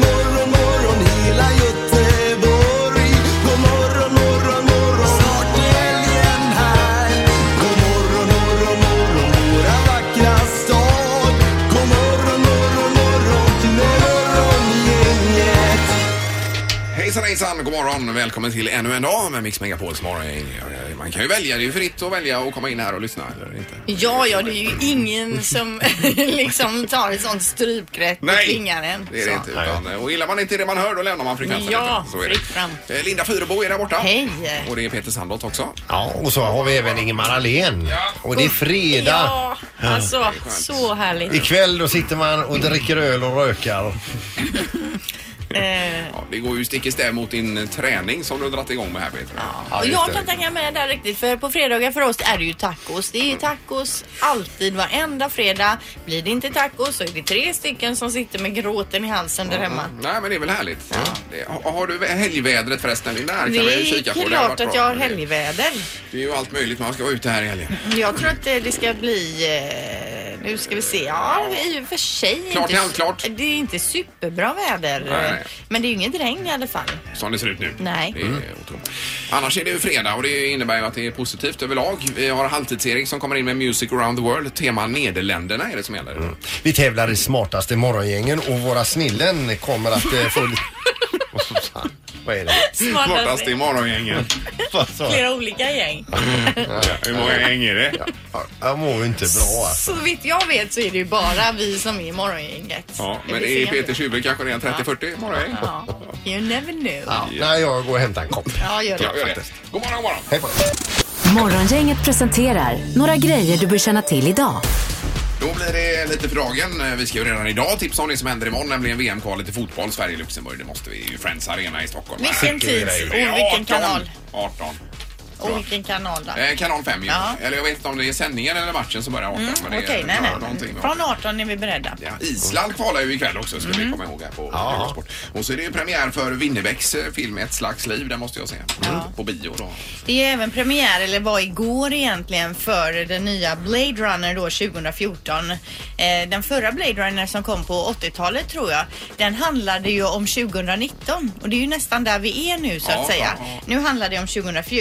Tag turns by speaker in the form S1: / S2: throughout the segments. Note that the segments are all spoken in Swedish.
S1: morgon, morgon hela Göteborg. God morgon, morgon, morgon. Snart är helgen här. God morgon, morgon, morgon våra vackra stad. God morgon, morgon, morgon till morgongänget.
S2: Hejsan hejsan, god morgon välkommen till ännu en dag med Mix Megapols morgongäng. Man kan ju välja, det är ju fritt att välja och komma in här och lyssna eller inte.
S3: Ja, ja, det är ju ingen som liksom tar ett sånt strypgrepp och tvingar en.
S2: det är det
S3: Så.
S2: inte. Utan, och gillar man inte det man hör då lämnar man frekvensen.
S3: Ja,
S2: Så är det.
S3: fritt fram.
S2: Eh, Linda Fyrebo är där borta.
S3: Hej!
S2: Och det är Peter Sandholt också.
S4: Ja, och så har vi även Ingemar Ahlén. Och det är fredag.
S3: Ja, alltså så härligt.
S4: Ikväll då sitter man och dricker öl och rökar.
S3: Eh,
S2: Ja, det går ju stick i stäv mot din träning som du har dragit igång med här Peter.
S3: och jag kan tänka mig det där riktigt för på fredagar för oss är det ju tacos. Det är tacos alltid varenda fredag. Blir det inte tacos så är det tre stycken som sitter med gråten i halsen där hemma.
S2: Nej men det är väl härligt. Det, har, har du helgvädret förresten Linda? Här kan
S3: Det
S2: vi
S3: är
S2: kika på. Det har
S3: klart
S2: varit
S3: att
S2: bra.
S3: jag har helgväder.
S2: Det är ju allt möjligt man ska vara ute här i helgen.
S3: Jag tror att det det ska bli... eh, Nu ska vi se. Ja, i och för sig.
S2: Klart
S3: inte,
S2: i halvklart.
S3: Det är inte superbra väder. eh,
S2: Nej.
S3: Men det är ju inget regn i alla fall.
S2: Som det ser ut nu.
S3: Nej.
S2: Det är otroligt. Annars är det ju fredag och det innebär ju att det är positivt överlag. Vi har halvtids-Erik som kommer in med Music around the world. Tema Nederländerna är det som gäller.
S4: Vi tävlar i smartaste morgongängen och våra snillen kommer att eh, få... Vad är det?
S2: Smartast i morgongängen.
S4: Vad sa jag?
S3: Flera olika gäng.
S2: Hur många gäng är det?
S4: Jag mår ju inte bra
S3: Så
S4: alltså.
S3: vitt jag vet så är det ju bara vi som är i morgongänget.
S2: Ja,
S3: Det
S2: men
S3: blir
S2: i
S3: sent.
S2: Peters huvud kanske det är en 30-40 morgongäng.
S3: Ja. You never know.
S4: Ja, nej, jag går och hämtar en kopp.
S3: Ja, gör
S2: Ja,
S3: det.
S2: gör det. God morgon, god morgon.
S4: Hej på er.
S5: Morgongänget presenterar några grejer du bör känna till idag.
S2: Då blir det lite för dagen. Vi ska ju redan idag tipsa om det som händer imorgon, nämligen VM-kvalet i fotboll Sverige-Luxemburg. Det måste vi ju Friends Arena i Stockholm.
S3: Vilken tid och vilken
S2: 18.
S3: kanal.
S2: 18.
S3: Och vilken kanal då?
S2: Eh, kanal 5 ju.
S3: Ja.
S2: Eller jag vet inte om det är sändningen eller matchen som börjar 18.
S3: Mm,
S2: men det
S3: Okej,
S2: är
S3: nej,
S2: någonting
S3: nej.
S2: med
S3: Från Mm. 18 är vi beredda.
S2: Ja, Island kvalar ju ikväll också ska vi komma ihåg här på
S4: Ja.
S2: Eurosport. Och så är det ju premiär för Winnerbäcks eh, film Ett slags liv. Den måste jag se. På bio då.
S3: Det är även premiär, eller var igår egentligen, för den nya Blade Runner då 2014. Eh, den förra Blade Runner som kom på 80-talet tror jag, den handlade ju om 2019 och det är ju nästan där vi är nu så
S2: Ja,
S3: att säga.
S2: ja, ja.
S3: Nu handlar det om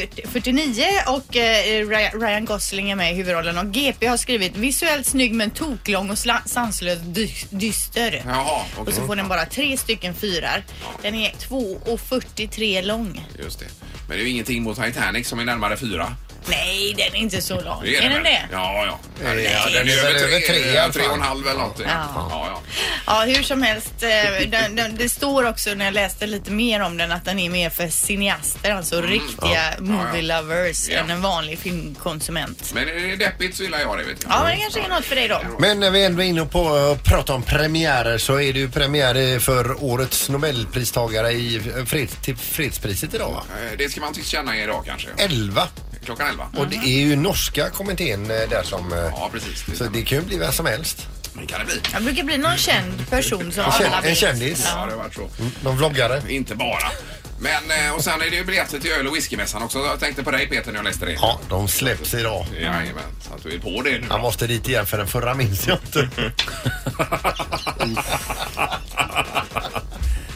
S3: 2049 och eh, Ry- Ryan Gosling är med i huvudrollen och GP har skrivit visuellt snygg men toklång och sla- sanslöst dy- dyster.
S2: Jaha, okej.
S3: Och så får den bara tre stycken fyrar. Den är 2,43 lång.
S2: Just det. Men det är ju ingenting mot Titanic som är närmare fyra.
S3: Nej, den är inte så lång.
S2: Det
S3: är den
S2: väl?
S3: det?
S2: Ja,
S3: Ja.
S2: ja.
S4: Ja, den är väl över tre i alla
S2: tre och en
S4: fall.
S2: halv eller någonting.
S3: Ja.
S2: Ja,
S3: hur som helst. eh, Den, den, det står också när jag läste lite mer om den att den är mer för cineaster, alltså
S2: Mm.
S3: riktiga movie lovers,
S2: Ja.
S3: än en vanlig filmkonsument.
S2: Men är det deppigt så gillar jag det vet du.
S3: Ja, men det kanske är något för dig då.
S4: Men när vi ändå är inne på att prata om premiärer så är det ju premiär för årets Nobelpristagare i freds, till fredspriset idag va?
S2: Eh, Det ska man tillkänna idag kanske.
S4: 11.
S2: Klockan elva.
S4: Och det är ju norska kommittén eh, där som... eh,
S2: Ja, precis. Det,
S4: Så det kan ju bli vad som helst.
S2: Men kan det bli.
S3: Jag brukar bli någon känd person som
S4: känd-
S3: alla
S4: en
S3: vet.
S4: kändis.
S2: Ja,
S3: Ja.
S2: det har varit så.
S4: Någon vloggare.
S2: Inte bara. Men eh, och sen är det ju biljetter till öl och whiskymässan också. Jag tänkte på dig Peter när jag läste det.
S4: Ja, de släpps idag.
S2: Jajamän, så att du är på det nu.
S4: Han måste dit igen för den förra minns jag inte.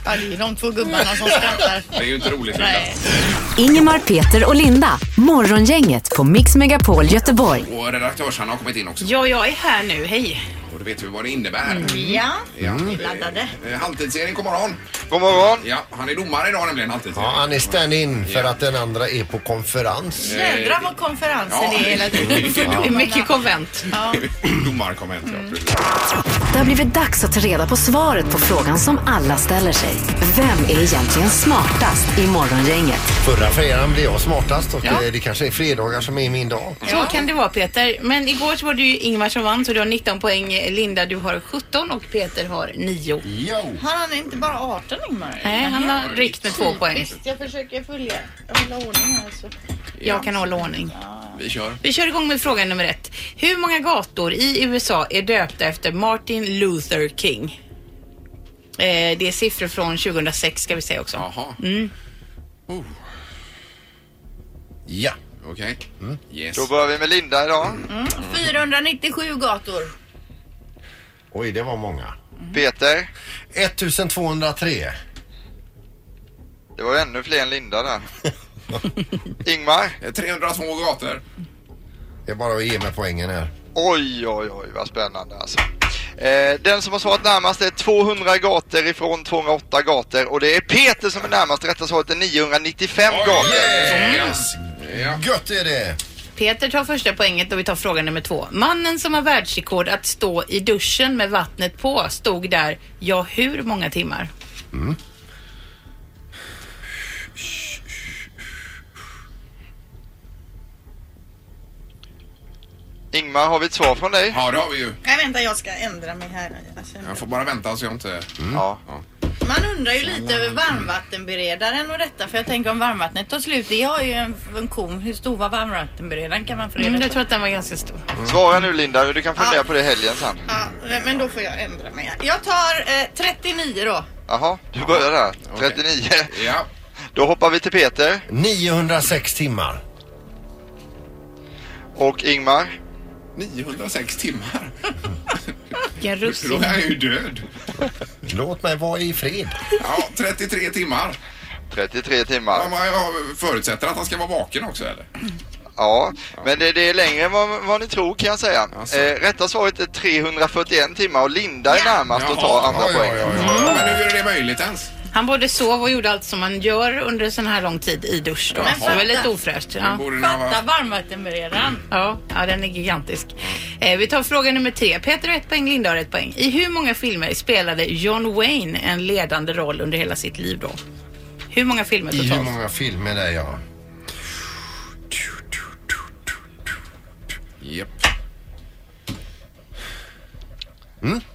S3: ja, det är de två gubbarna som skrattar.
S2: Det är ju inte roligt.
S3: Nej.
S5: Ingemar, Peter och Linda. Morgongänget på Mix Megapol Göteborg.
S2: Linda. Och redaktörsarna har kommit in också.
S6: Ja, jag är här nu. Hej! Mm.
S2: Och då vet vi vad det innebär.
S3: Ja,
S2: Ja,
S3: laddade.
S2: eh, Halvtids-Erik, god morgon.
S1: God morgon.
S2: Ja, han är domare idag nämligen, halvtids
S4: Ja, han är stand-in för att den andra är på konferens.
S3: Jädrar vad konferenser
S2: Ja.
S3: det är hela tiden.
S6: Det är mycket konvent.
S2: Domarkomment, ja. precis.
S5: Det har blivit dags att ta reda på svaret på frågan som alla ställer sig. Vem är egentligen smartast i morgongänget?
S4: Förra fredagen blev jag smartast och eh, det kanske är fredagar som är min dag.
S6: Så kan det vara Peter. Men igår så var det ju Ingvar som vann så du har 19 poäng. Li- Linda, du har 17 och Peter har 9.
S4: Jo!
S3: Har han inte bara 18 Ingmar?
S6: Nej, han har ryckt med två poäng.
S3: Visst, jag försöker följa. Jag vill ha ordning här. Så.
S2: Ja.
S6: Jag kan hålla ordning.
S2: Vi kör.
S6: Vi kör igång med fråga nummer ett. Hur många gator i USA är döpta efter Martin Luther King? Eh, det är siffror från 2006 ska vi säga också.
S2: Jaha,
S4: Ja.
S2: okej. Yes.
S7: Då börjar vi med Linda idag.
S3: 497 gator.
S4: Oj, det var många.
S7: Peter,
S4: 1203.
S7: det var ju ännu fler än Linda där. Ingmar,
S2: Eh, 302 gator.
S4: Det är bara att ge mig poängen här.
S7: oj oj oj vad spännande alltså. Eh, den som har svarat närmast är 200 gator ifrån 208 gator och det är Peter som är närmast. Rätta svaret är 995 gator.
S2: Yes. Ja.
S4: Gött är det!
S6: Peter tar första poänget och vi tar fråga nummer två. Mannen som har världsrekord att stå i duschen med vattnet på stod där, ja hur många timmar?
S7: Ingmar, har vi ett svar från dig?
S2: Ja, det har vi ju.
S3: Nej, vänta, jag ska ändra mig här. Alltså,
S2: Jag får bara vänta så jag inte...
S7: Ja.
S3: Man undrar ju lite över varmvattenberedaren och detta. För jag tänker om varmvattnet tar slut. Det har ju en funktion. Hur stor var varmvattenberedaren kan man få reda
S6: Mm,
S3: på?
S6: jag tror att den var ganska stor.
S7: Svara nu Linda, du kan fundera på det i helgen sen.
S3: Ja, men då får jag ändra mig. här. Jag tar eh, 39 då.
S7: Jaha, du börjar där. 39.
S2: Ja.
S7: Då hoppar vi till Peter
S4: 906 timmar.
S7: och Ingmar.
S2: 906 timmar.
S6: Vilken
S2: Då
S6: russin.
S2: är jag ju död.
S4: Låt mig vara i fred.
S2: Ja, 33 timmar.
S7: 33
S2: Ja,
S7: timmar.
S2: men Jag förutsätter att han ska vara vaken också eller?
S7: Ja, men det, det är längre än vad, vad ni tror kan jag säga.
S2: Alltså.
S7: Eh, rätta svaret är 341 timmar och Linda är närmast och tar andra
S2: Oj,
S7: poäng.
S2: oj, oj, oj. Men
S4: Mm.
S2: hur är det möjligt ens?
S6: Han både sov och gjorde allt som man gör under sån här lång tid i dusch då.
S3: Men
S6: Så det var
S3: fatta.
S6: lite ofräscht. Ja.
S2: Borde den ha
S3: Fatta
S2: varit...
S3: varmvattenberedaren.
S6: Ja, ja, den är gigantisk. Eh, vi tar fråga nummer tre. Peter har ett poäng, Linda har ett poäng. I hur många filmer spelade John Wayne en ledande roll under hela sitt liv då? Hur många filmer
S4: I hur
S6: totalt?
S4: många filmer det är jag?
S2: Japp.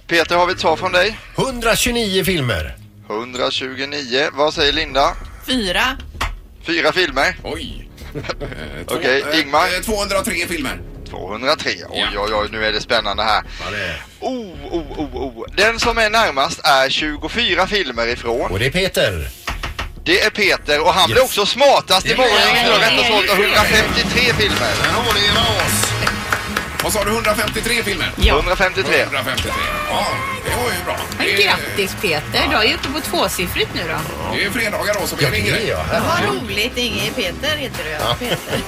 S7: Peter, har vi ett svar från dig?
S4: 129 filmer.
S7: 129. Vad säger Linda?
S3: Fyra.
S7: Fyra filmer.
S2: Oj. Eh, två-
S7: Okej,
S2: eh,
S7: Ingmar.
S2: eh, 203 filmer.
S7: 203. Oj,
S2: Ja.
S7: oj, oj, nu är det spännande här.
S4: Ja, det är.
S7: Oh, oh, oh, oh. Den som är närmast är 24 filmer ifrån.
S4: Och det är Peter.
S7: Det är Peter och han blev också smartast i morgongänget. och Rätta svaret är 153 filmer.
S4: har ni oss.
S2: Vad sa du? 153 filmer?
S6: Ja.
S7: 153.
S2: 153. Ja, det var ju bra.
S6: Men
S2: Det är-
S6: grattis Peter, du är ju uppe på tvåsiffrigt nu då.
S2: Det är fredagar då som
S4: Ja,
S2: är
S4: det är
S2: ringer.
S4: jag.
S3: Vad roligt. Inge Peter heter du. Ja. Peter.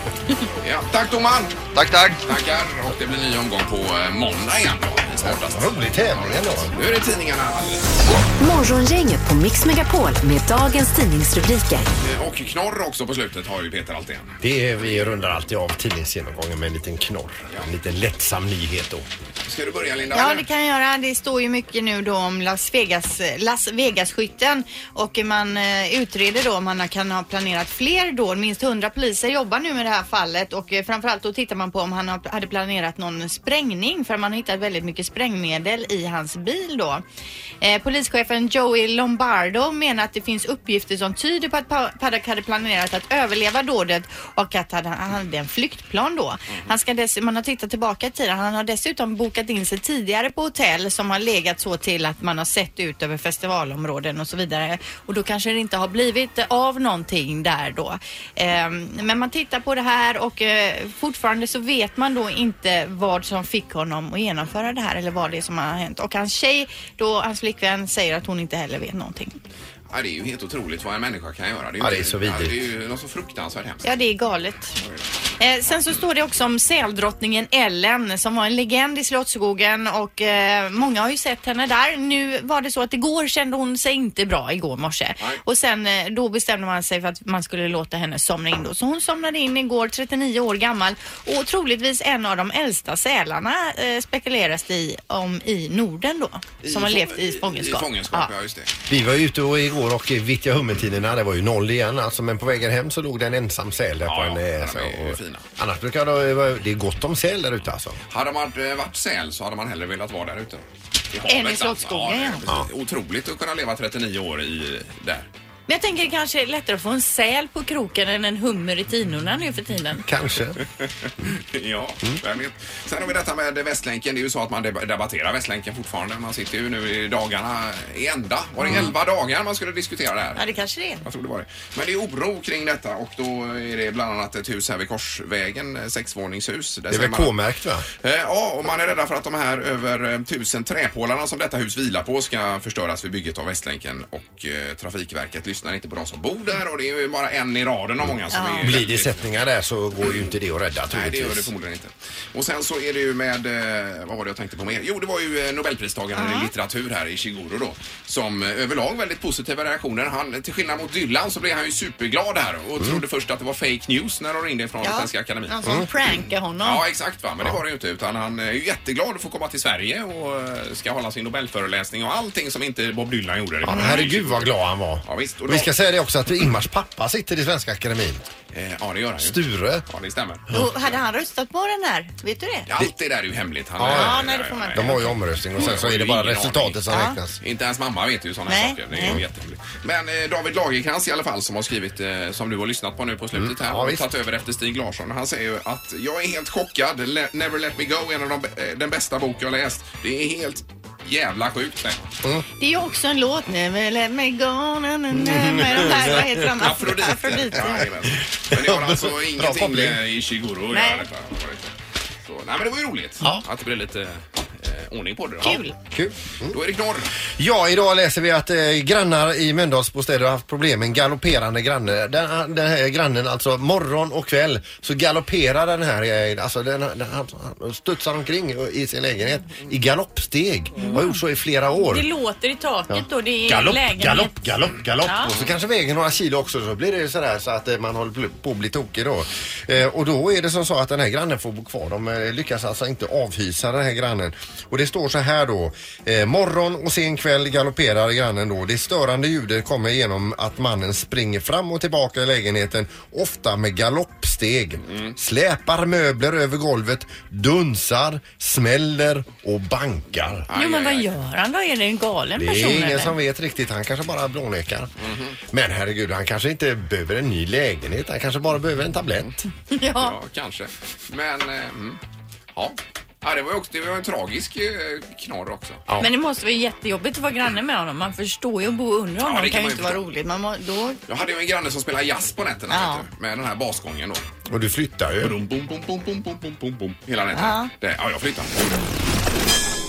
S2: Ja. Tack domaren.
S7: Tack, tack.
S2: Tackar. Och det blir ny omgång på eh, måndag igen då. i Smartast.
S4: Rolig tävling ändå.
S2: Nu är det tidningarna alldeles.
S5: Morgongänget på Mix Megapol med dagens tidningsrubriker.
S2: Eh, Och knorr också på slutet har ju Peter alltid en.
S4: Det är, vi rundar alltid av tidningsgenomgången med en liten knorr. En liten lättsam nyhet då.
S2: Ska du börja Linda?
S3: Ja,
S2: eller?
S3: det kan jag göra. Det står ju mycket nu då om Las Vegas, Las Vegas-skytten och man eh, utreder då om man kan ha planerat fler då. Minst 100 poliser jobbar nu med det här fallet och eh, framförallt då tittar man på om han har- hade planerat någon sprängning för man har hittat väldigt mycket sprängmedel i hans bil då. Eh, Polischefen Joey Lombardo menar att det finns uppgifter som tyder på att Pa- Paddock hade planerat att överleva dådet och att han han hade en flyktplan då. Han ska dess, man har tittat tillbaka i tiden. Han har dessutom bokat in sig tidigare på hotell som har legat så till att man har sett ut över festivalområden och så vidare. Och då kanske det inte har blivit av någonting där då. Ehm, men man tittar på det här och eh, fortfarande så vet man då inte vad som fick honom att genomföra det här eller vad det är som har hänt. Och hans tjej, då, hans flickvän, säger att hon inte heller vet någonting.
S2: Ja, det är ju helt otroligt vad en människa kan göra. ju
S4: Ja, det är
S2: inte-
S4: så vidrigt.
S2: Ja, det är ju något så fruktansvärt hemskt.
S3: Ja, det är galet. Eh, sen så står det också om säldrottningen Ellen som var en legend i Slottsskogen och eh, många har ju sett henne där. Nu var det så att igår kände hon sig inte bra igår morse
S2: Nej.
S3: och sen eh, då bestämde man sig för att man skulle låta henne somna in då. Så hon somnade in igår, 39 år gammal och troligtvis en av de äldsta sälarna eh, spekuleras det i, om i Norden då. Som har
S2: I
S3: levt i
S2: fång-
S3: fångenskap.
S2: I fångenskap, ja, just det.
S4: Vi var ute och igår igår och Vittja Hummertiderna, det var ju noll igen alltså. Men på vägen hem så låg det en ensam säl där på en... eh, så,
S2: de är ju
S4: och-
S2: fina.
S4: Annars brukar det vara... Det är gott om säl där ute alltså.
S2: Hade man eh, varit säl så hade man hellre velat vara där ute. I
S3: Än i
S2: havet,
S3: Slottsskogen,
S2: alltså. Ja, precis. Otroligt att kunna leva 39 år i, där.
S3: Men jag tänker det kanske är lättare att få en säl på kroken än en hummer i tinorna nu för tiden.
S4: Kanske.
S2: ja,
S4: Mm.
S2: vem vet. Sen har vi detta med Västlänken. Det är ju så att man deb- debatterar Västlänken fortfarande. Man sitter ju nu i dagarna i ända. Var
S4: Mm.
S2: det 11 dagar man skulle diskutera det här?
S3: Ja, det kanske det är.
S2: Jag tror det var det. Men det är oro kring detta och då är det bland annat ett hus här vid Korsvägen, eh, sexvåningshus. Där
S4: Det är
S2: säger
S4: väl
S2: man-
S4: K-märkt va?
S2: Eh, Ja, och man är rädda för att de här över eh, tusen träpålarna som detta hus vilar på ska förstöras vid bygget av Västlänken och eh, Trafikverket lyssnar inte på de som bor där och det är ju bara en i raden av många som är...
S4: Blir det sättningar där så går ju inte det att rädda
S2: Nej, det gör det
S4: troligtvis.
S2: förmodligen inte. Och sen så är det ju med, eh, vad var det jag tänkte på mer? Jo, det var ju eh, Nobelpristagaren i litteratur här i Shiguro då, som eh, överlag väldigt positiva reaktioner. Han, till skillnad mot Dylan så blev han ju superglad här och
S4: Mm.
S2: trodde först att det var fake news när de ringde från Svenska Akademin.
S3: Någon som prankar honom.
S2: Ja, exakt va. Men det var det ju inte. Utan han är ju jätteglad att få komma till Sverige och eh, ska hålla sin Nobelföreläsning och allting som inte Bob Dylan gjorde.
S4: Ja, men herregud vad glad han var.
S2: Mm. Ja, visst. Och
S4: Och vi
S2: då-
S4: ska säga det också att Ingmars pappa sitter i Svenska Akademin.
S2: Eh, Ja, det gör han ju.
S4: Sture.
S2: Ja, det stämmer.
S3: Och hade han röstat på den här? Vet du det?
S2: Allt det där är ju hemligt. Han,
S4: Ja, ja,
S3: nej, det får man
S4: De har ju omröstning och sen så är det bara resultatet som räknas.
S2: Inte ens mamma vet ju sådana
S3: Nej,
S2: saker. Det är ju
S3: nej.
S2: jättehemligt. Men eh, David Lagercrantz i alla fall som har skrivit, eh, som du har lyssnat på nu på slutet här
S4: ja,
S2: och
S4: visst.
S2: tagit över efter Stig Larsson. Han säger ju att jag är helt chockad. Le- Never Let Me Go är en av de, eh, den bästa bok jag läst. Det är helt jävla sjukt. säger han.
S3: Det är ju också en låt nu. Men let me go na, na, na, med de här, vad heter de?
S2: Afrodite.
S3: Afrodite.
S2: Ja, jajamän. men det har alltså ingenting
S4: koppling.
S2: med Ishiguro att
S3: Nej.
S2: göra. detta. Så, nej, men det var ju roligt att det blev lite eh, ordning på det. då.
S3: Kul.
S4: Kul. Mm.
S2: Då är det knorr.
S4: Ja, idag läser vi att eh, grannar i Mölndalsbostäder har haft problem med en galopperande granne. Den, den här grannen, alltså morgon och kväll, så galopperar den här, eh, alltså den, den, han han studsar omkring i sin lägenhet i galoppsteg. Har gjort så i flera år.
S6: Det låter i taket då. Det är
S4: Galopp,
S6: lägenhet.
S4: galopp, galopp, galopp.
S6: Ja.
S4: Och så kanske väger några kilo också så blir det sådär så att eh, man håller på att bli tokig då. Eh, och då är det som så att den här grannen får bo kvar. De eh, lyckas alltså inte avhysa den här grannen. Och det står så här då. Eh, morgon och sen kväll galopperar grannen då. Det störande ljudet kommer genom att mannen springer fram och tillbaka i lägenheten. Ofta med galoppsteg. Släpar möbler över golvet. Dunsar, smäller och bankar.
S3: Jo, men
S2: Aj,
S3: vad
S2: aj, aj.
S3: gör han då? Är det en galen
S4: Det
S3: person
S4: är ingen
S3: eller?
S4: som vet riktigt. Han kanske bara blånekar. Men herregud, han kanske inte behöver en ny lägenhet. Han kanske bara behöver en tablett.
S3: Ja.
S2: Ja, kanske. Men, eh, mm, ja. ja. Det var ju också, det var en tragisk eh, knorr också.
S4: Ja.
S3: Men det måste vara jättejobbigt att vara granne med honom. Man förstår ju att bo under honom.
S2: det
S3: det
S2: kan
S3: kan
S2: man
S3: ju
S2: ju
S3: inte vara
S2: förstå.
S3: roligt. Man må, då...
S2: Jag hade ju en granne som spelade jazz på nätterna
S3: Ja.
S2: vet du, med den här basgången då.
S4: Och du flyttar ju.
S2: Bum, bum, bum, bum, bum, bum, bum, bum, bum. Hela nätterna. Ja. ja, jag flyttade.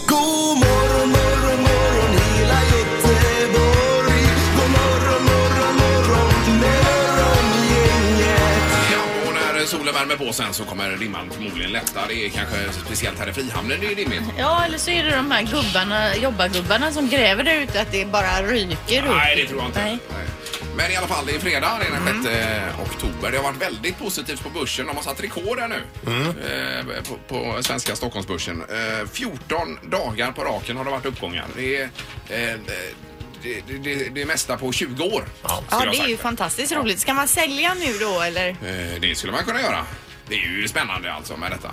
S1: God morgon, morgon, morgon hela Göteborg. God morgon, morgon, morgon morgongänget.
S2: Ja, och när solen värmer på sen så kommer dimman förmodligen lätta. Det är kanske speciellt här i Frihamnen det är dimmigt.
S3: Ja, eller så är det de här gubbarna, jobbargubbarna som gräver där ute att det bara ryker
S2: Nej, det tror jag inte.
S3: Nej.
S2: Nej. Men i alla fall, det är fredag det är den 6 oktober. Det har varit väldigt positivt på börsen. De har satt rekord här nu eh, på, på svenska Stockholmsbörsen. Eh, 14 dagar på raken har det varit uppgångar. Det är eh, det, det, det, det mesta på 20 år. skulle jag
S3: Ja,
S2: ha
S3: det är
S2: sagt.
S3: ju fantastiskt roligt. Ska man sälja nu då eller?
S2: Eh, Det skulle man kunna göra. Det är ju spännande alltså med detta.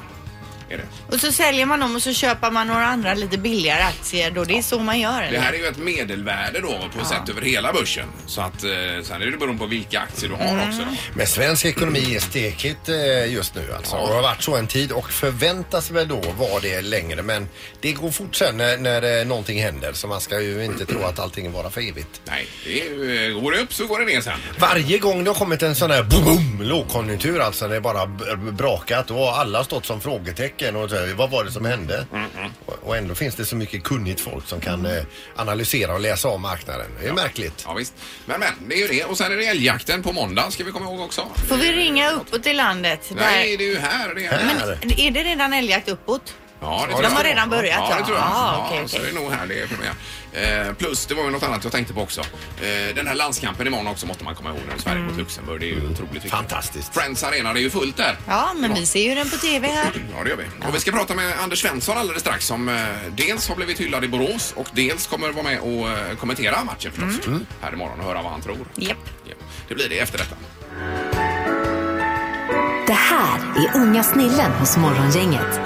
S2: Är det?
S3: Och så säljer man dem och så köper man några andra lite billigare aktier då. Det är så man gör.
S2: Det
S3: Eller?
S2: här är ju ett medelvärde då på sätt över hela börsen. Så att eh, sen är det beroende på vilka aktier du har
S3: Mm.
S2: också. Då.
S4: Men svensk ekonomi är stekigt eh, just nu alltså. Och har varit så en tid och förväntas väl då vara det längre. Men det går fort sen när, när eh, någonting händer. Så man ska ju inte tro att allting är bara för evigt.
S2: Nej, det är, ju, eh, går det upp så går det ner sen.
S4: Varje gång det har kommit en sån här boom, boom lågkonjunktur alltså. Det är bara b- brakat och alla har stått som frågetecken. Och så här, vad var det som hände? Och- Och ändå finns det så mycket kunnigt folk som kan eh, analysera och läsa av marknaden. Det är märkligt.
S2: Ja, visst. Men, men, det är ju det. Och sen är det älgjakten på måndag ska vi komma ihåg också.
S3: Får vi ringa uppåt i landet?
S2: Nej, det är ju här. Det är här.
S4: Här.
S3: Där... Är det redan älgjakt uppåt?
S2: Ja, det tror
S3: De
S2: jag.
S3: har redan börjat,
S2: Ja, det
S3: ja.
S2: tror jag.
S3: Ah,
S2: ja,
S3: okej,
S2: Så
S3: okej.
S2: det är nog här det är premiär. Eh, plus, det var ju något annat jag tänkte på också. Eh, den här landskampen imorgon också måste man komma ihåg. nu. Sverige
S3: Mm.
S2: mot Luxemburg. Det är ju otroligt viktigt.
S8: Fantastiskt.
S2: Friends Arena, det är ju fullt där.
S3: Ja, men vi ser ju den på TV här.
S2: Ja, det gör vi. Och vi ska prata med Anders Svensson alldeles strax som eh, dels har blivit hyllad i Borås och dels kommer vara med och eh, kommentera matchen förstås här imorgon och höra vad han tror.
S3: Japp.
S2: Ja, Det blir det efter detta.
S5: Det här är Unga snillen hos Morgongänget.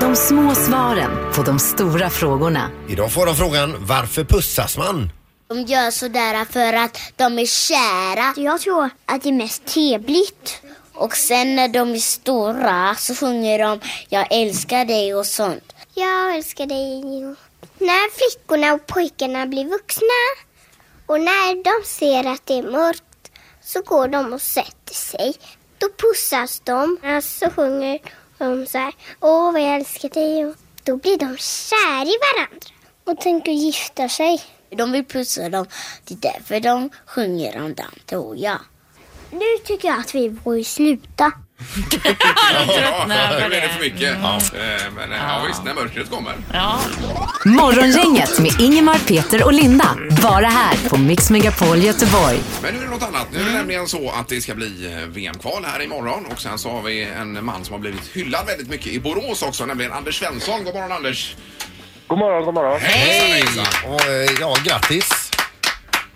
S5: De små svaren på de stora frågorna.
S8: Idag får de frågan varför pussas man?
S9: De gör sådär för att de är kära. Jag tror att det är mest trevligt. Och sen när de är stora så sjunger de Jag älskar dig och sånt. Jag älskar dig. När flickorna och pojkarna blir vuxna och när de ser att det är mörkt så går de och sätter sig. Då pussas de. Och så sjunger de så här. Åh, vad jag älskar dig. Och Då blir de kära i varandra och tänker gifta sig. De vill pussa dem. Det är därför de sjunger om den, tror jag. Nu tycker jag att vi borde sluta.
S2: Ja, nu blir det för mycket. Eh, Men eh, ja, visst, när mörkret kommer.
S5: Morgongänget med Ingemar, Peter och Linda. Bara här på Mix Megapol Göteborg.
S2: Men nu är det något annat. Nu är det nämligen så att det ska bli eh, VM-kval här imorgon och sen så har vi en man som har blivit hyllad väldigt mycket i Borås också, nämligen Anders Svensson. God morgon Anders!
S10: God morgon, god morgon.
S2: Hej!
S8: Och, eh, ja, grattis.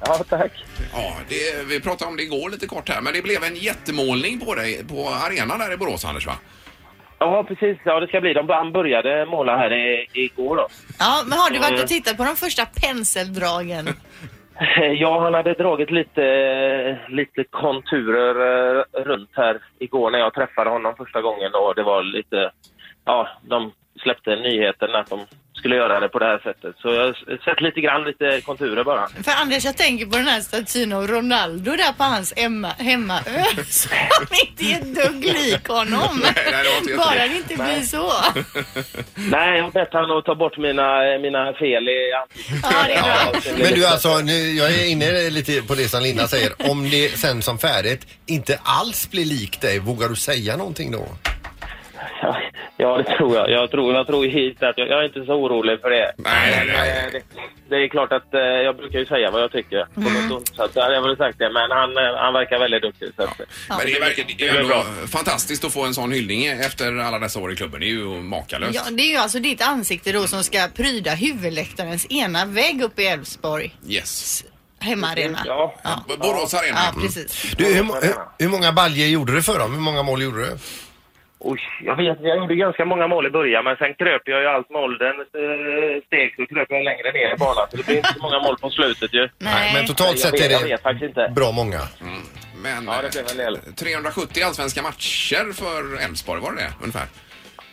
S10: Ja, tack.
S2: Ja, det, vi pratade om det igår lite kort här, men det blev en jättemålning på dig på arenan där i Borås, Anders va?
S10: Ja, precis. Ja, det ska bli. De han började måla här i, igår då.
S3: Ja, men har du varit och tittat på de första penseldragen?
S10: Ja, han hade dragit lite, lite konturer eh, runt här igår när jag träffade honom första gången och det var lite, ja, de släppte nyheten att de skulle göra det på det här sättet. Så jag har sett lite grann, lite konturer bara.
S3: För Anders, jag tänker på den här statyn av Ronaldo där på hans Emma, hemmaö. Som inte är ett dugg lik honom. Bara det inte blir så.
S10: Nej, jag har bett honom att ta bort mina, mina fel i ansiktet.
S8: Men du alltså, nu, jag är inne lite på det som Linda säger. Om det sen som färdigt inte alls blir likt dig, vågar du säga någonting då?
S10: Ja, det tror jag. Jag tror, jag tror hit att jag, jag är inte så orolig för det.
S2: Nej, nej,
S10: nej. Det, det är klart att eh, jag brukar ju säga vad jag tycker på något ont, så att jag hade väl sagt det. Men han, eh, han verkar väldigt duktig. Så att,
S2: Men det är verkligen det är
S10: blir
S2: ändå fantastiskt att få en sån hyllning efter alla dessa år i klubben. Det är ju makalöst.
S3: Ja, det är ju alltså ditt ansikte då som ska pryda huvudläktarens ena vägg uppe i Älvsborg.
S2: Yes.
S3: Hemmaarena.
S10: Ja.
S2: Borås Arena.
S3: Ja, precis.
S8: Du, hur, mo- hur, hur många baljer gjorde du för dem? Hur många mål gjorde du?
S10: Oj, jag vet Jag gjorde ganska många mål i början, men sen kröp jag ju allt med åldern. eh, Steg så kröp jag längre ner i banan. Så det blir inte så många mål på slutet ju.
S8: Nej, men totalt
S10: jag
S8: sett
S10: vet,
S8: är
S10: Jag vet
S8: det
S10: faktiskt inte.
S8: bra många.
S2: Men
S10: Ja, det blev en del.
S2: eh, 370 allsvenska matcher för Elfsborg, var det det ungefär?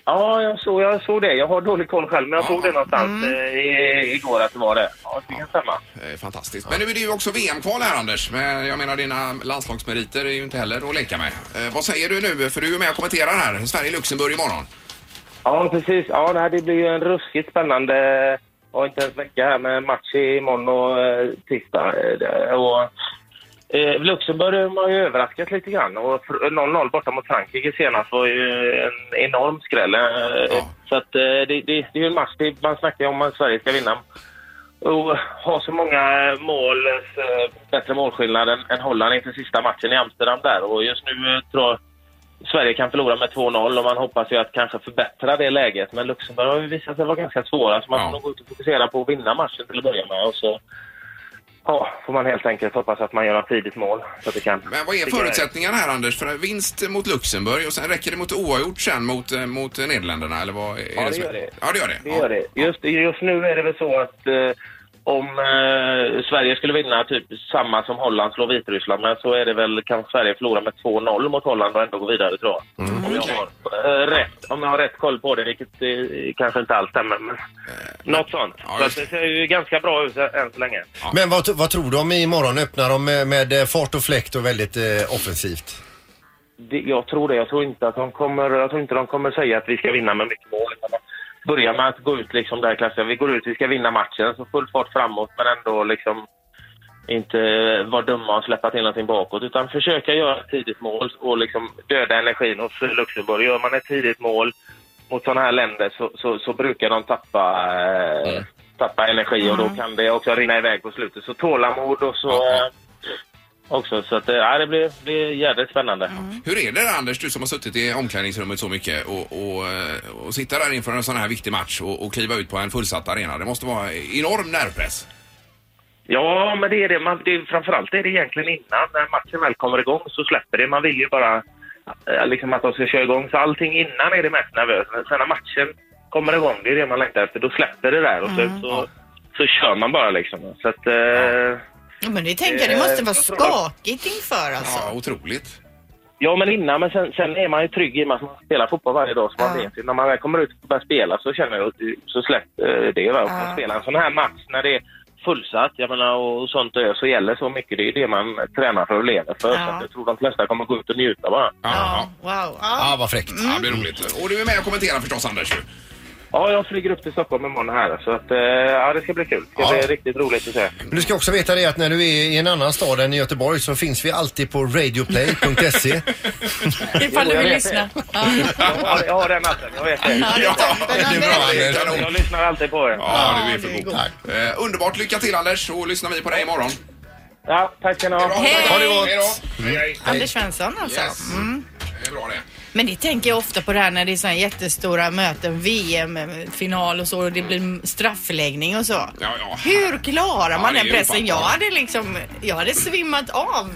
S10: Ja, jag såg, jag såg det. Jag har dålig koll själv, men jag såg det någonstans eh, i, igår att det var det. Ja, det kan stämma.
S2: Eh, Fantastiskt. Men nu är det ju också VM-kval här Anders. Men jag menar dina landslagsmeriter är ju inte heller att leka med. Eh, vad säger du nu? För du är ju med och kommenterar här. Sverige-Luxemburg imorgon.
S10: Ja, precis. Ja, det, här, det blir ju en ruskigt spännande, och inte ens vecka här med match imorgon och eh, tisdag. Eh, det- Och, eh, Luxemburg har ju överraskat lite grann och fr- 0-0 borta mot Frankrike senast var ju en enorm skräll. Eh, Så att eh, det, det, det är ju en match det, man snackar ju om att Sverige ska vinna. Och ha så många mål, eh, bättre målskillnad än, än Holland inför sista matchen i Amsterdam där och just nu eh, tror jag Sverige kan förlora med 2-0 och man hoppas ju att kanske förbättra det läget. Men Luxemburg har ju visat sig vara ganska svåra så man får nog gå ut och fokusera på att vinna matchen till att börja med. Och så ja, får man helt enkelt hoppas att man gör ett tidigt mål. Så att det kan
S2: Men vad är förutsättningarna här Anders? För en vinst mot Luxemburg och sen räcker det mot oavgjort sen mot, eh, mot Nederländerna? Eller vad är
S10: Ja, det
S2: som-
S10: gör det.
S2: Ja, det gör det.
S10: Det gör det. Just, just nu är det väl så att eh, om eh, Sverige skulle vinna typ samma som Holland slår Vitryssland, men så är det väl kan Sverige förlora med 2-0 mot Holland och ändå gå vidare tror jag.
S2: Mm.
S10: Om, jag har, eh, rätt, om jag har rätt koll på det, vilket eh, kanske inte alls stämmer, men något sånt. så att det ser ju ganska bra ut ä- än så länge.
S8: Men vad, vad tror du om imorgon öppnar de med,
S4: eh,
S8: med fart och fläkt och väldigt eh, offensivt?
S10: Det, jag tror det. Jag tror inte att de kommer, jag tror inte de kommer säga att vi ska vinna med mycket mål. Utan de börjar med att gå ut liksom där klassen. Vi går ut, vi ska vinna matchen. Så full fart framåt men ändå liksom inte vara dumma och släppa till någonting bakåt. Utan försöka göra ett tidigt mål och liksom döda energin hos Luxemburg. Gör man ett tidigt mål mot sådana här länder så, så, så brukar de tappa, eh, tappa energi och då kan det också rinna iväg på slutet. Så tålamod och så... Eh, också, så att, eh, ja, det blir, blir jävligt spännande.
S2: Hur är det där, Anders, du som har suttit i omklädningsrummet så mycket och, och, eh, och sitta där inför en sån här viktig match och, och kliva ut på en fullsatt arena? Det måste vara enorm nervpress.
S10: Ja, men det är det. Man, det är, framförallt är det egentligen innan. När matchen väl kommer igång så släpper det. Man vill ju bara eh, liksom att de ska köra igång. Så allting innan är det mest nervösa. Men Sen när matchen kommer igång, det är det man längtar efter. Då släpper det där och så, så, så kör man bara liksom. Så att... Eh,
S3: Ja, men det tänker jag, det måste vara skakigt inför alltså.
S2: Ja, otroligt.
S10: Ja, men innan. Men sen, sen är man ju trygg i och med att man spelar fotboll varje dag. Så man vet ju, när man väl kommer ut och börjar spela så känner jag att det- så släpp eh, det. Va? Och
S11: Ja.
S10: man spelar en sån här match när det är fullsatt jag menar, och sånt och så gäller så mycket. Det är ju det man tränar för och lever för. Så att jag tror de flesta kommer gå ut och njuta bara.
S2: Ja,
S3: wow.
S4: Ja, vad fräckt.
S2: Ja, det blir roligt. Och du är med och kommenterar förstås, Anders. ju.
S10: Ja, jag flyger upp till Stockholm imorgon här. Så att, eh, ja, det ska bli kul. Det ska bli riktigt roligt att se.
S4: Men du ska också veta det att när du är i en annan stad än i Göteborg så finns vi alltid på radioplay.se.
S10: Ifall du vill lyssna. Jag har, jag har den appen, jag vet det.
S2: Ja,
S4: det är bra, Anders.
S10: Jag lyssnar alltid på er.
S2: Ja, du är för god. Eh, underbart. Lycka till, Anders, så lyssnar vi på dig imorgon.
S10: Ja, tack ska ni ha.
S3: Hej!
S2: Ha det gott. Hej då. Hej, hej.
S3: Anders Svensson alltså.
S2: Yes.
S3: Mm.
S2: Det är bra det.
S3: Men det tänker jag ofta på det här när det är sådana jättestora möten, VM-final och så och det blir straffläggning och så. Hur klarar man
S4: det är
S3: den pressen? Jag
S4: ofattbart.
S3: hade liksom, jag hade svimmat av.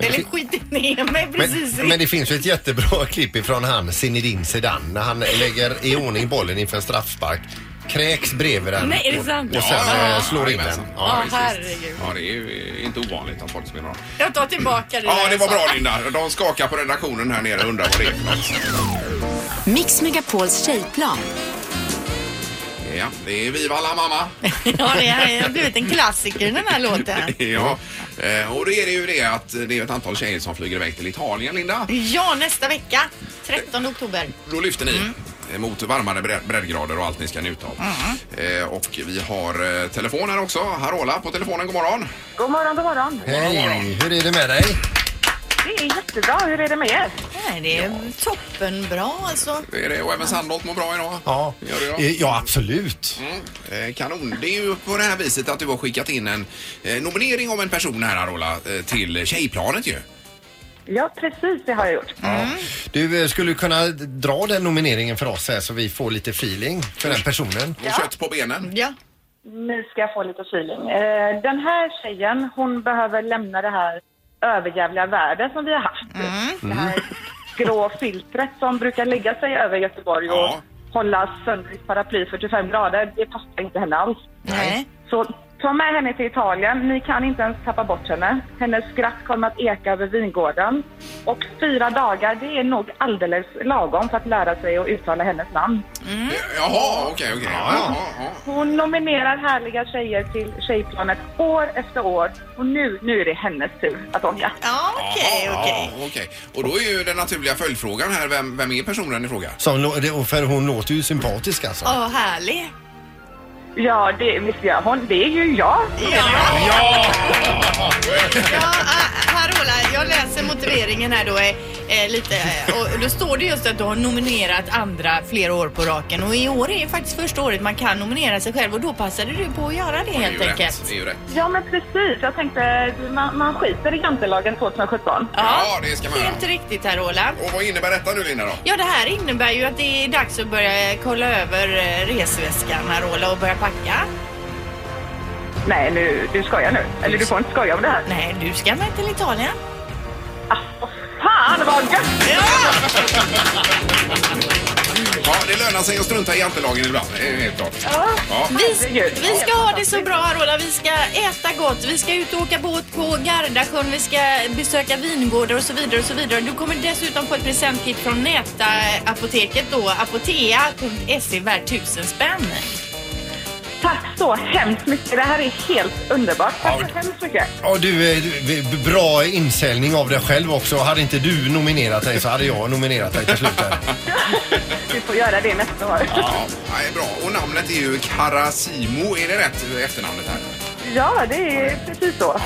S3: Eller skitit ner mig precis.
S4: Men, men det finns ju ett jättebra klipp ifrån han Zinedine Zidane när han lägger i ordning bollen inför en straffspark. Kräks bredvid den
S3: Nej, är det sant?
S4: och sen
S2: Ja,
S4: eh, slår in den.
S2: jajamensan.
S3: Ja,
S2: visst,
S3: herregud.
S2: Ja, det är ju inte ovanligt att folk spelar av.
S3: Jag tar tillbaka det
S2: Ja,
S3: där
S2: det
S3: jag
S2: var
S3: sa.
S2: bra Linda. De skakar på redaktionen här nere och undrar vad det är för något.
S5: Mix Megapols tjejplan.
S2: Ja, det är Viva la mamma.
S3: Ja, det här har blivit en klassiker den här låten.
S2: Ja, eh, och det är det ju det att det är ett antal tjejer som flyger iväg till Italien, Linda.
S3: Ja, nästa vecka, 13 oktober.
S2: Då lyfter ni eh, mot varmare bre- breddgrader och allt ni ska njuta av. Eh, och vi har eh, telefon här också. Harola på telefonen, god morgon.
S12: God morgon, god morgon.
S4: Hej, hur är det med dig?
S12: Det är jättebra. Hur är det med er?
S3: Nej, det är toppenbra alltså.
S2: Det är det. Och även Sandholt mår bra idag.
S4: Ja,
S2: Gör det då?
S4: Eh, ja absolut.
S2: Mm. Eh, Kanon. Det är ju på det här viset att du har skickat in en eh, nominering om en person här, Harola, eh, till Tjejplanet ju.
S12: Ja, precis. Det har jag gjort.
S4: Du eh, skulle kunna dra den nomineringen för oss här så vi får lite feeling för den personen.
S2: Och kött på benen.
S3: Ja.
S12: Nu ska jag få lite feeling. Eh, Den här tjejen, hon behöver lämna det här överjävliga vädret som vi har haft. Det här grå filtret som brukar lägga sig över Göteborg och hålla sönder i paraply 45 grader. Det passar inte henne alls.
S3: Nej.
S12: Så ta med henne till Italien. Ni kan inte ens tappa bort henne. Hennes skratt kommer att eka över vingården. Och fyra dagar, det är nog alldeles lagom för att lära sig att uttala hennes namn.
S4: Mm.
S2: Eh, Jaha, okej, okej. Ja, ja,
S12: Hon nominerar härliga tjejer till Tjejplanet år efter år. Och nu, nu är det hennes tur att åka.
S3: Okej,
S2: okej. Och då är ju den naturliga följdfrågan här, vem, vem är personen i fråga?
S4: Som, lå- det- och för hon låter ju sympatisk alltså.
S3: Åh, härlig.
S12: Ja, det visst gör hon. Det är ju jag.
S3: Ja, ah, Carola, jag läser motiveringen här då eh, eh, lite eh, och då står det just att du har nominerat andra flera år på raken och i år är ju faktiskt första året man kan nominera sig själv och då passade du på att göra det helt enkelt.
S2: Det är ju rätt.
S12: Ja, men precis. Jag tänkte, man, man skiter i jantelagen 2017.
S2: Ja, det ska man göra.
S3: Helt riktigt Carola.
S2: Och vad innebär detta nu, Linda? Då?
S3: Ja, det här innebär ju att det är dags att börja kolla över eh, resväskan Carola och börja packa.
S12: Nej, nu, du skojar nu. Eller du får inte skoja om det här.
S3: Nej, du ska med till Italien.
S12: Fan vad gött!
S2: Ja, det lönar sig att strunta i jantelagen ibland, det är helt klart. Ja.
S3: Vi, vi ska ha det så bra Rola. Vi ska äta gott, vi ska ut och åka båt på Gardasjön, vi ska besöka vingårdar och så vidare och så vidare. Du kommer dessutom få ett presentkit från Näta-apoteket då, apotea.se värt tusen spänn.
S12: Tack så hemskt mycket. Det här är helt underbart. Tack så hemskt mycket.
S4: Ja, du, eh, du, vi- b- bra insäljning av dig själv också. Hade inte du nominerat dig så hade jag nominerat dig till slut. här.
S12: Du får göra det nästa år.
S2: Ja, det är bra. Och namnet är ju Karasimo, är det rätt efternamnet här?
S12: Ja, det är precis så.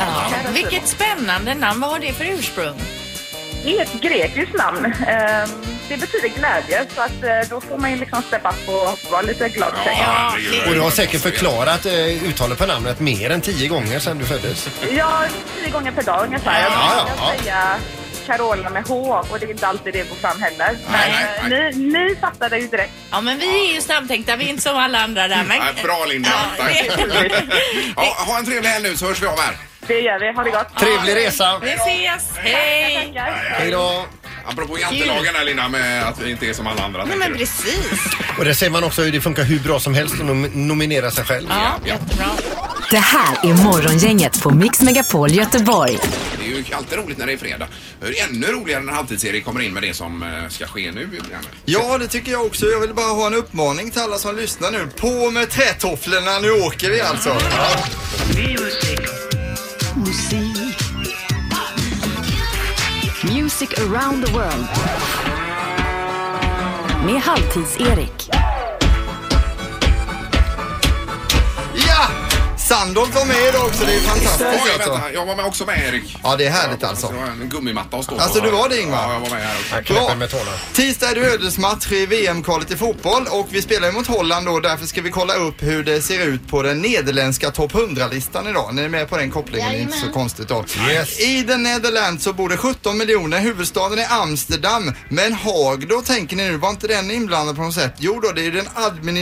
S3: Vilket spännande namn. Vad har det för ursprung?
S12: Det är ett grekiskt namn. Ehm, det betyder glädje. Så att eh, då får man ju liksom steppa upp och vara lite glad ja,
S4: Och du har säkert förklarat eh, uttalet på namnet mer än tio gånger sedan du föddes.
S12: Ja, tio gånger per dag ungefär. Jag
S4: Ja,
S12: brukar
S4: ja, ja.
S12: säga Carola med H och det är inte alltid det går fram heller. Men, eh, Ni, ni fattade ju direkt.
S3: Ja, men vi är ju snabbtänkta. Vi är inte som alla andra där. Men...
S2: Nej, bra Linda, tack. ja, ha en trevlig helg nu så hörs vi av här.
S12: Det gör vi. Ha det gott.
S4: Trevlig resa.
S3: Vi ses. Hej!
S4: Hej då.
S2: Apropå jantelagen där Linda med att vi inte är som alla andra.
S3: Nej, men precis.
S4: Och där ser man också hur det funkar hur bra som helst att nom- nominera sig själv.
S3: Ja, jättebra.
S5: Det här är Morgongänget på Mix Megapol Göteborg.
S2: Det är ju alltid roligt när det är fredag. Det är ännu roligare när halvtids-Erik kommer in med det som eh, ska ske nu i programmet.
S7: Ja, det tycker jag också. Jag vill bara ha en uppmaning till alla som lyssnar nu. På med trätofflorna, nu åker vi alltså.
S5: Musik. Music around the world. Med Halvtids-Erik.
S7: Ja! Sandholt var med idag också, det är
S2: Oj,
S7: fantastiskt alltså.
S2: vänta, jag var med också med Erik.
S7: Ja, det är härligt alltså.
S2: Det var en gummimatta att stå på.
S7: Alltså du var det Ingmar?
S2: Ja, jag var med här också.
S7: Bra. Tisdag är det ödesmatch i VM-kvalet i fotboll och vi spelar ju mot Holland då. Därför ska vi kolla upp hur det ser ut på den nederländska topp 100-listan idag. Ni är med på den kopplingen, det är inte så konstigt då. I den Nederländerna så bor det 17 miljoner. Huvudstaden är Amsterdam. Men Haag då tänker ni nu, var inte den inblandad på något sätt? Jo då, det är ju den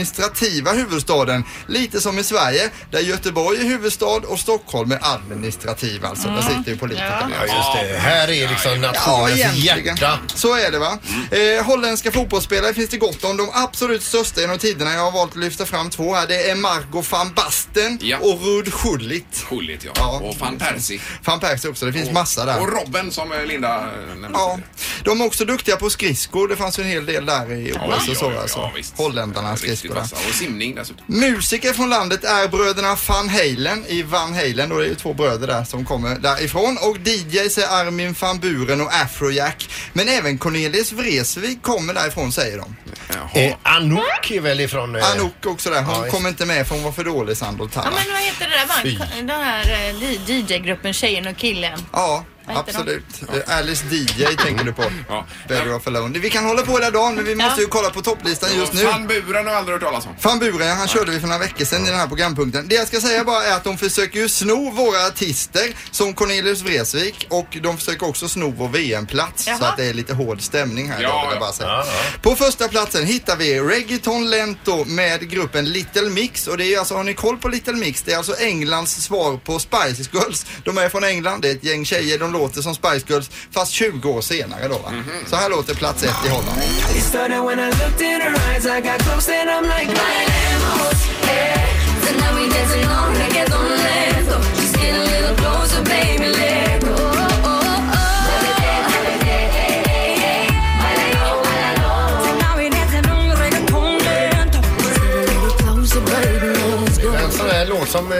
S7: administrativa huvudstaden. Lite som i Sverige, där Göteborg är huvudstad och Stockholm är administrativ alltså. Där sitter ju politikerna.
S4: Ja, just det. Här är liksom nationens
S7: egentligen.
S4: hjärta.
S7: Så är det va.
S2: Mm.
S7: Eh, holländska fotbollsspelare finns det gott om. De absolut största genom tiderna. Jag har valt att lyfta fram två här. Det är Margot van Basten och Rud Schullit.
S2: Schullit ja. Och van Persie.
S7: Van Persie också. Det finns massa där.
S2: Och Robben som eh, Linda eh, nämnde.
S7: Ja, de är också duktiga på skridskor. Det fanns ju en hel del där i
S2: Ja,
S7: OS
S2: ja,
S7: och så.
S2: ja,
S7: alltså.
S2: ja, visst.
S7: Holländarna
S2: Riktigt
S7: skridskorna.
S2: vassa. Och simning dessutom.
S7: Musiker från landet är bröderna Van Halen i Van Halen. Då är det ju två bröder där som kommer därifrån. Och DJs är Armin van Buren och Afrojack. Men även Cornelis Vreeswijk kommer därifrån säger de.
S4: Eh, Anouk är väl ifrån... Eh,
S7: Anouk också där.
S4: Ja,
S7: Hon
S4: visst.
S7: kom inte med för hon var för dålig Sandholt här.
S3: Ja,
S7: va?
S3: men vad heter det där bandet? Den här eh, DJ-gruppen Tjejen och killen.
S7: Ja,
S3: Vad heter de?
S7: absolut. Eh, Alice DJ tänker du på. Better off alone. Vi kan hålla på hela dagen men vi måste ju kolla på topplistan just nu.
S2: Van Buren har jag aldrig hört talas om.
S7: Van Buren, han körde vi för några veckor sedan i den här programpunkten. Det jag ska säga bara är att de försöker ju sno våra artister som Cornelius Vreeswijk och de försöker också sno vår VM-plats. Så att det är lite hård stämning här.
S2: Ja,
S7: idag, vill jag
S2: ja.
S7: bara säga. På första platsen hittar vi Reggaeton Lento med gruppen Little Mix och det är ju alltså, har ni koll på Little Mix? Det är alltså Englands svar på Spice Girls. De är från England, det är ett gäng tjejer, de låter som Spice Girls fast 20 år senare då va?
S3: Mhm.
S7: Så här låter plats ett i Holland.
S1: It started when I looked in her eyes, I got close and I'm like, my lemos, yeah. So now we dancing on reggaeton lento. Just get a little closer, baby, let go.
S4: En sån här låt som eh,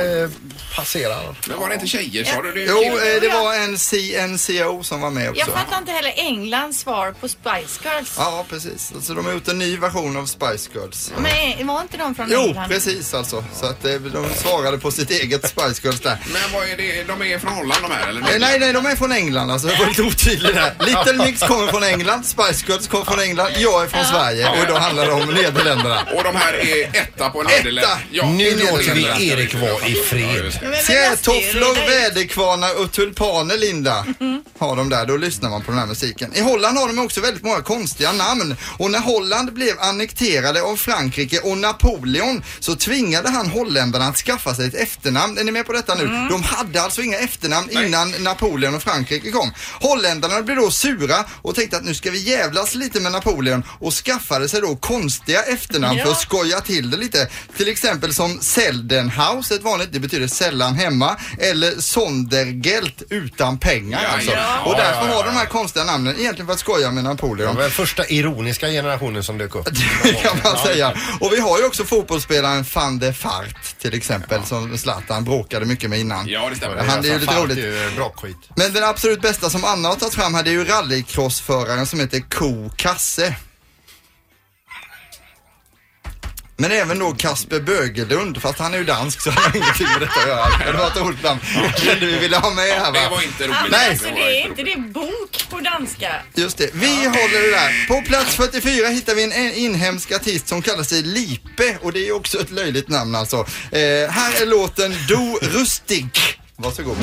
S4: passerar.
S2: Men var det inte tjejer sa du? Det är ju
S7: Jo,
S2: killar.
S7: eh, det var en CNCO som var med också.
S3: Jag fattar inte heller Englands svar på Spice Girls.
S7: Ja, precis. Alltså, de har gjort en ny version av Spice Girls.
S3: Men var inte de från
S7: Jo,
S3: England?
S7: precis alltså. Så att eh, de svarade på sitt eget Spice Girls där.
S2: Men vad är det? De är från Holland de här eller?
S7: Eh, Nej, nej, de är från England alltså. Jag var lite otydlig där. Little Mix kommer från England, Spice Girls kommer från England, jag är från Sverige och då handlar det om Nederländerna.
S2: Och de här är etta på Nederländerna.
S4: nu låter vi Erik vara i fred.
S7: Fjärrtofflor, väderkvarnar och tulpaner, Linda, har de där. Då lyssnar man på den här musiken. I Holland har de också väldigt många konstiga namn. Och när Holland blev annekterade av Frankrike och Napoleon så tvingade han holländarna att skaffa sig ett efternamn. Är ni med på detta nu? De hade alltså inga efternamn innan Napoleon och Frankrike kom. Holländarna blev då sura och tänkte att nu ska vi jävlas lite med Napoleon och skaffade sig då konstiga efternamn för att
S8: Ja.
S7: skoja till det lite. Till exempel som Seldenhaus, ett vanligt, det betyder sällan hemma, eller Sondergeld utan pengar
S4: Ja,
S7: alltså.
S4: ja.
S7: Och
S4: Ja,
S7: därför
S4: ja, ja,
S7: har de här konstiga namnen egentligen för att skoja med Napoleon.
S4: De var den första ironiska generationen som dök upp.
S7: kan man säga. Och vi har ju också fotbollsspelaren van der Fart till exempel som Zlatan bråkade mycket med innan.
S2: Ja, det stämmer.
S7: Han
S4: alltså
S7: är ju lite roligt.
S4: Bra skit.
S7: Men den absolut bästa som Anna har tagit fram här det är ju rallycrossföraren som heter Ko Kasse. Men även då Kasper Bögelund, fast han är ju dansk så han har ingenting med detta att göra. Det var ett ordnamn som du ville ha med här va?
S2: Det var inte
S3: Men
S7: Nej,
S3: alltså, det är inte det bok på danska?
S7: just det. Vi håller det där. På plats 44 hittar vi en en inhemsk artist som kallar sig Lipe och det är ju också ett löjligt namn alltså. Eh, här är låten Do Rustig. Varsågod.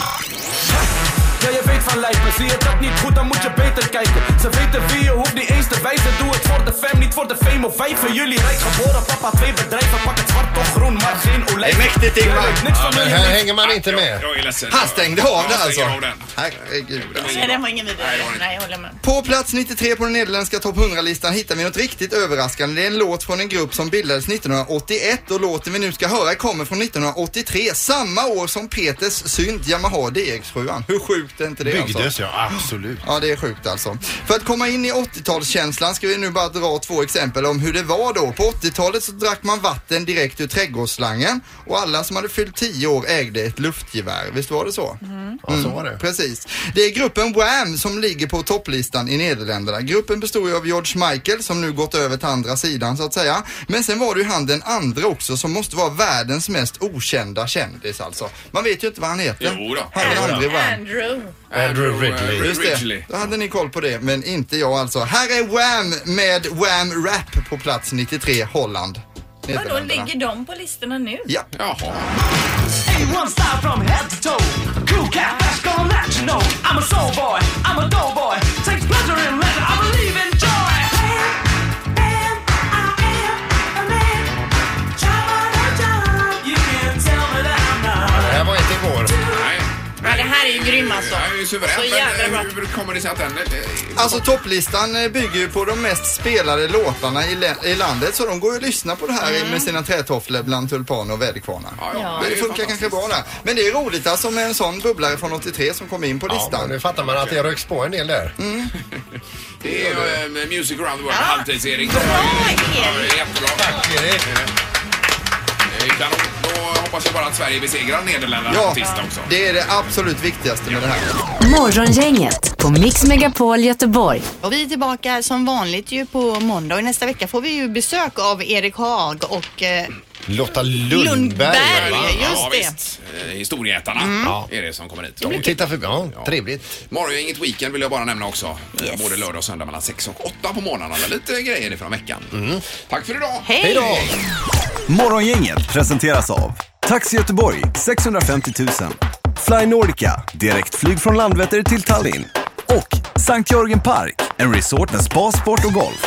S12: Ja, ihr weht verleicht me. Zie je dat niet goed, dan moet je beter kijken. Ze weten wie je hoeft niet eens te wijzen. Doe het voor de fam, niet voor de fame of wij. Van jullie rijk geboren, papa twee bedrijven. Pak het zwart of groen, maar geen olijf.
S7: Hey, mäktigt, Ingmar. Ja, men här hänger man inte med.
S2: Jag, jag är ledsen.
S7: Han stängde av den
S2: Jag
S7: alltså.
S2: stänger av den.
S7: Herregud.
S3: Nej, den var ingen vidare. Nej, jag håller med.
S7: På plats 93 på den nederländska topp 100-listan hittar vi något riktigt överraskande. Det är en låt från en grupp som bildades 1981 och låten vi nu ska höra kommer från 1983, samma år som Peters synt Yamaha DX7. Hur sjukt är inte det
S4: Byggdes,
S7: alltså?
S4: ja, absolut.
S7: Ja, det är sjukt alltså. För att komma in i 80-talskänslan ska vi nu bara dra två exempel om hur det var då. På 80-talet så drack man vatten direkt ur trädgårdsslangen och alla som hade fyllt 10 år ägde ett luftgevär. Visst var det så?
S4: Ja,
S7: Mm.
S4: så var det.
S7: Precis. Det är gruppen Wham som ligger på topplistan i Nederländerna. Gruppen bestod ju av George Michael som nu gått över till andra sidan så att säga. Men sen var det ju han den andra också som måste vara världens mest okända kändis alltså. Man vet ju inte vad han heter.
S2: Jo då.
S7: Han den andra Wham.
S3: Andrew.
S4: Andrew Ridley.
S7: Just det, då hade ni koll på det, men inte jag alltså. Här är Wham med Wham Rap på plats 93, Holland.
S3: Vadå,
S7: Nederländerna.
S3: ligger de på listorna nu?
S7: Ja.
S12: A1 style from head to toe. Cool cat, that's gonna let you know. I'm a soul boy, I'm a dough boy. Takes pleasure in leisure, I believe in joy. You can tell me that I'm not.
S4: Det här var inte igår.
S3: Ja, det här är ju grym alltså.
S2: Det är ju suveränt.
S3: Så jävla bra.
S2: Men hur kommer det sig att den... eh,
S7: Alltså topplistan eh, bygger ju på de mest spelade låtarna i, lä- i landet så de går ju att lyssna på det här med sina trätofflor bland tulpaner och väderkvarnar.
S2: Mm. ja,
S7: Men
S2: det
S7: det
S2: är
S7: funkar kanske bra där. Men det är roligt alltså med en sån bubblare från 83 som kom in på listan. Mm.
S4: men nu fattar man att det röks på en del där.
S2: Det är ju, eh, Music around the world, halvtids-Erik.
S3: Bra,
S2: Ja,
S3: Erik.
S2: det är Jättebra. Tack, Erik. Kanon. Då hoppas jag bara att Sverige besegrar Nederländerna på tisdag också.
S7: det är det absolut viktigaste med det här.
S5: Morgongänget på Mix Megapol Göteborg.
S3: Och vi är tillbaka som vanligt ju på måndag och nästa vecka får vi ju besök av Erik Haag och eh,
S4: Lotta Lundberg.
S3: Lundberg,
S4: va?
S3: just
S4: Ja,
S3: det.
S2: Visst, eh, Historieätarna
S7: Mm.
S2: är det som kommer hit.
S4: De tittar förbi. Ja, trevligt.
S2: Morgon inget weekend vill jag bara nämna också. Eh, Både lördag och söndag mellan 6 och 8 på morgnarna. Lite grejer ifrån veckan. Tack för idag!
S3: Mm. Hej! Hej då!
S1: Morgongänget presenteras av Taxi Göteborg 650 000 Fly Nordica, direktflyg från Landvetter till Tallinn och Sankt Jörgen Park, en resort med spa, sport och golf.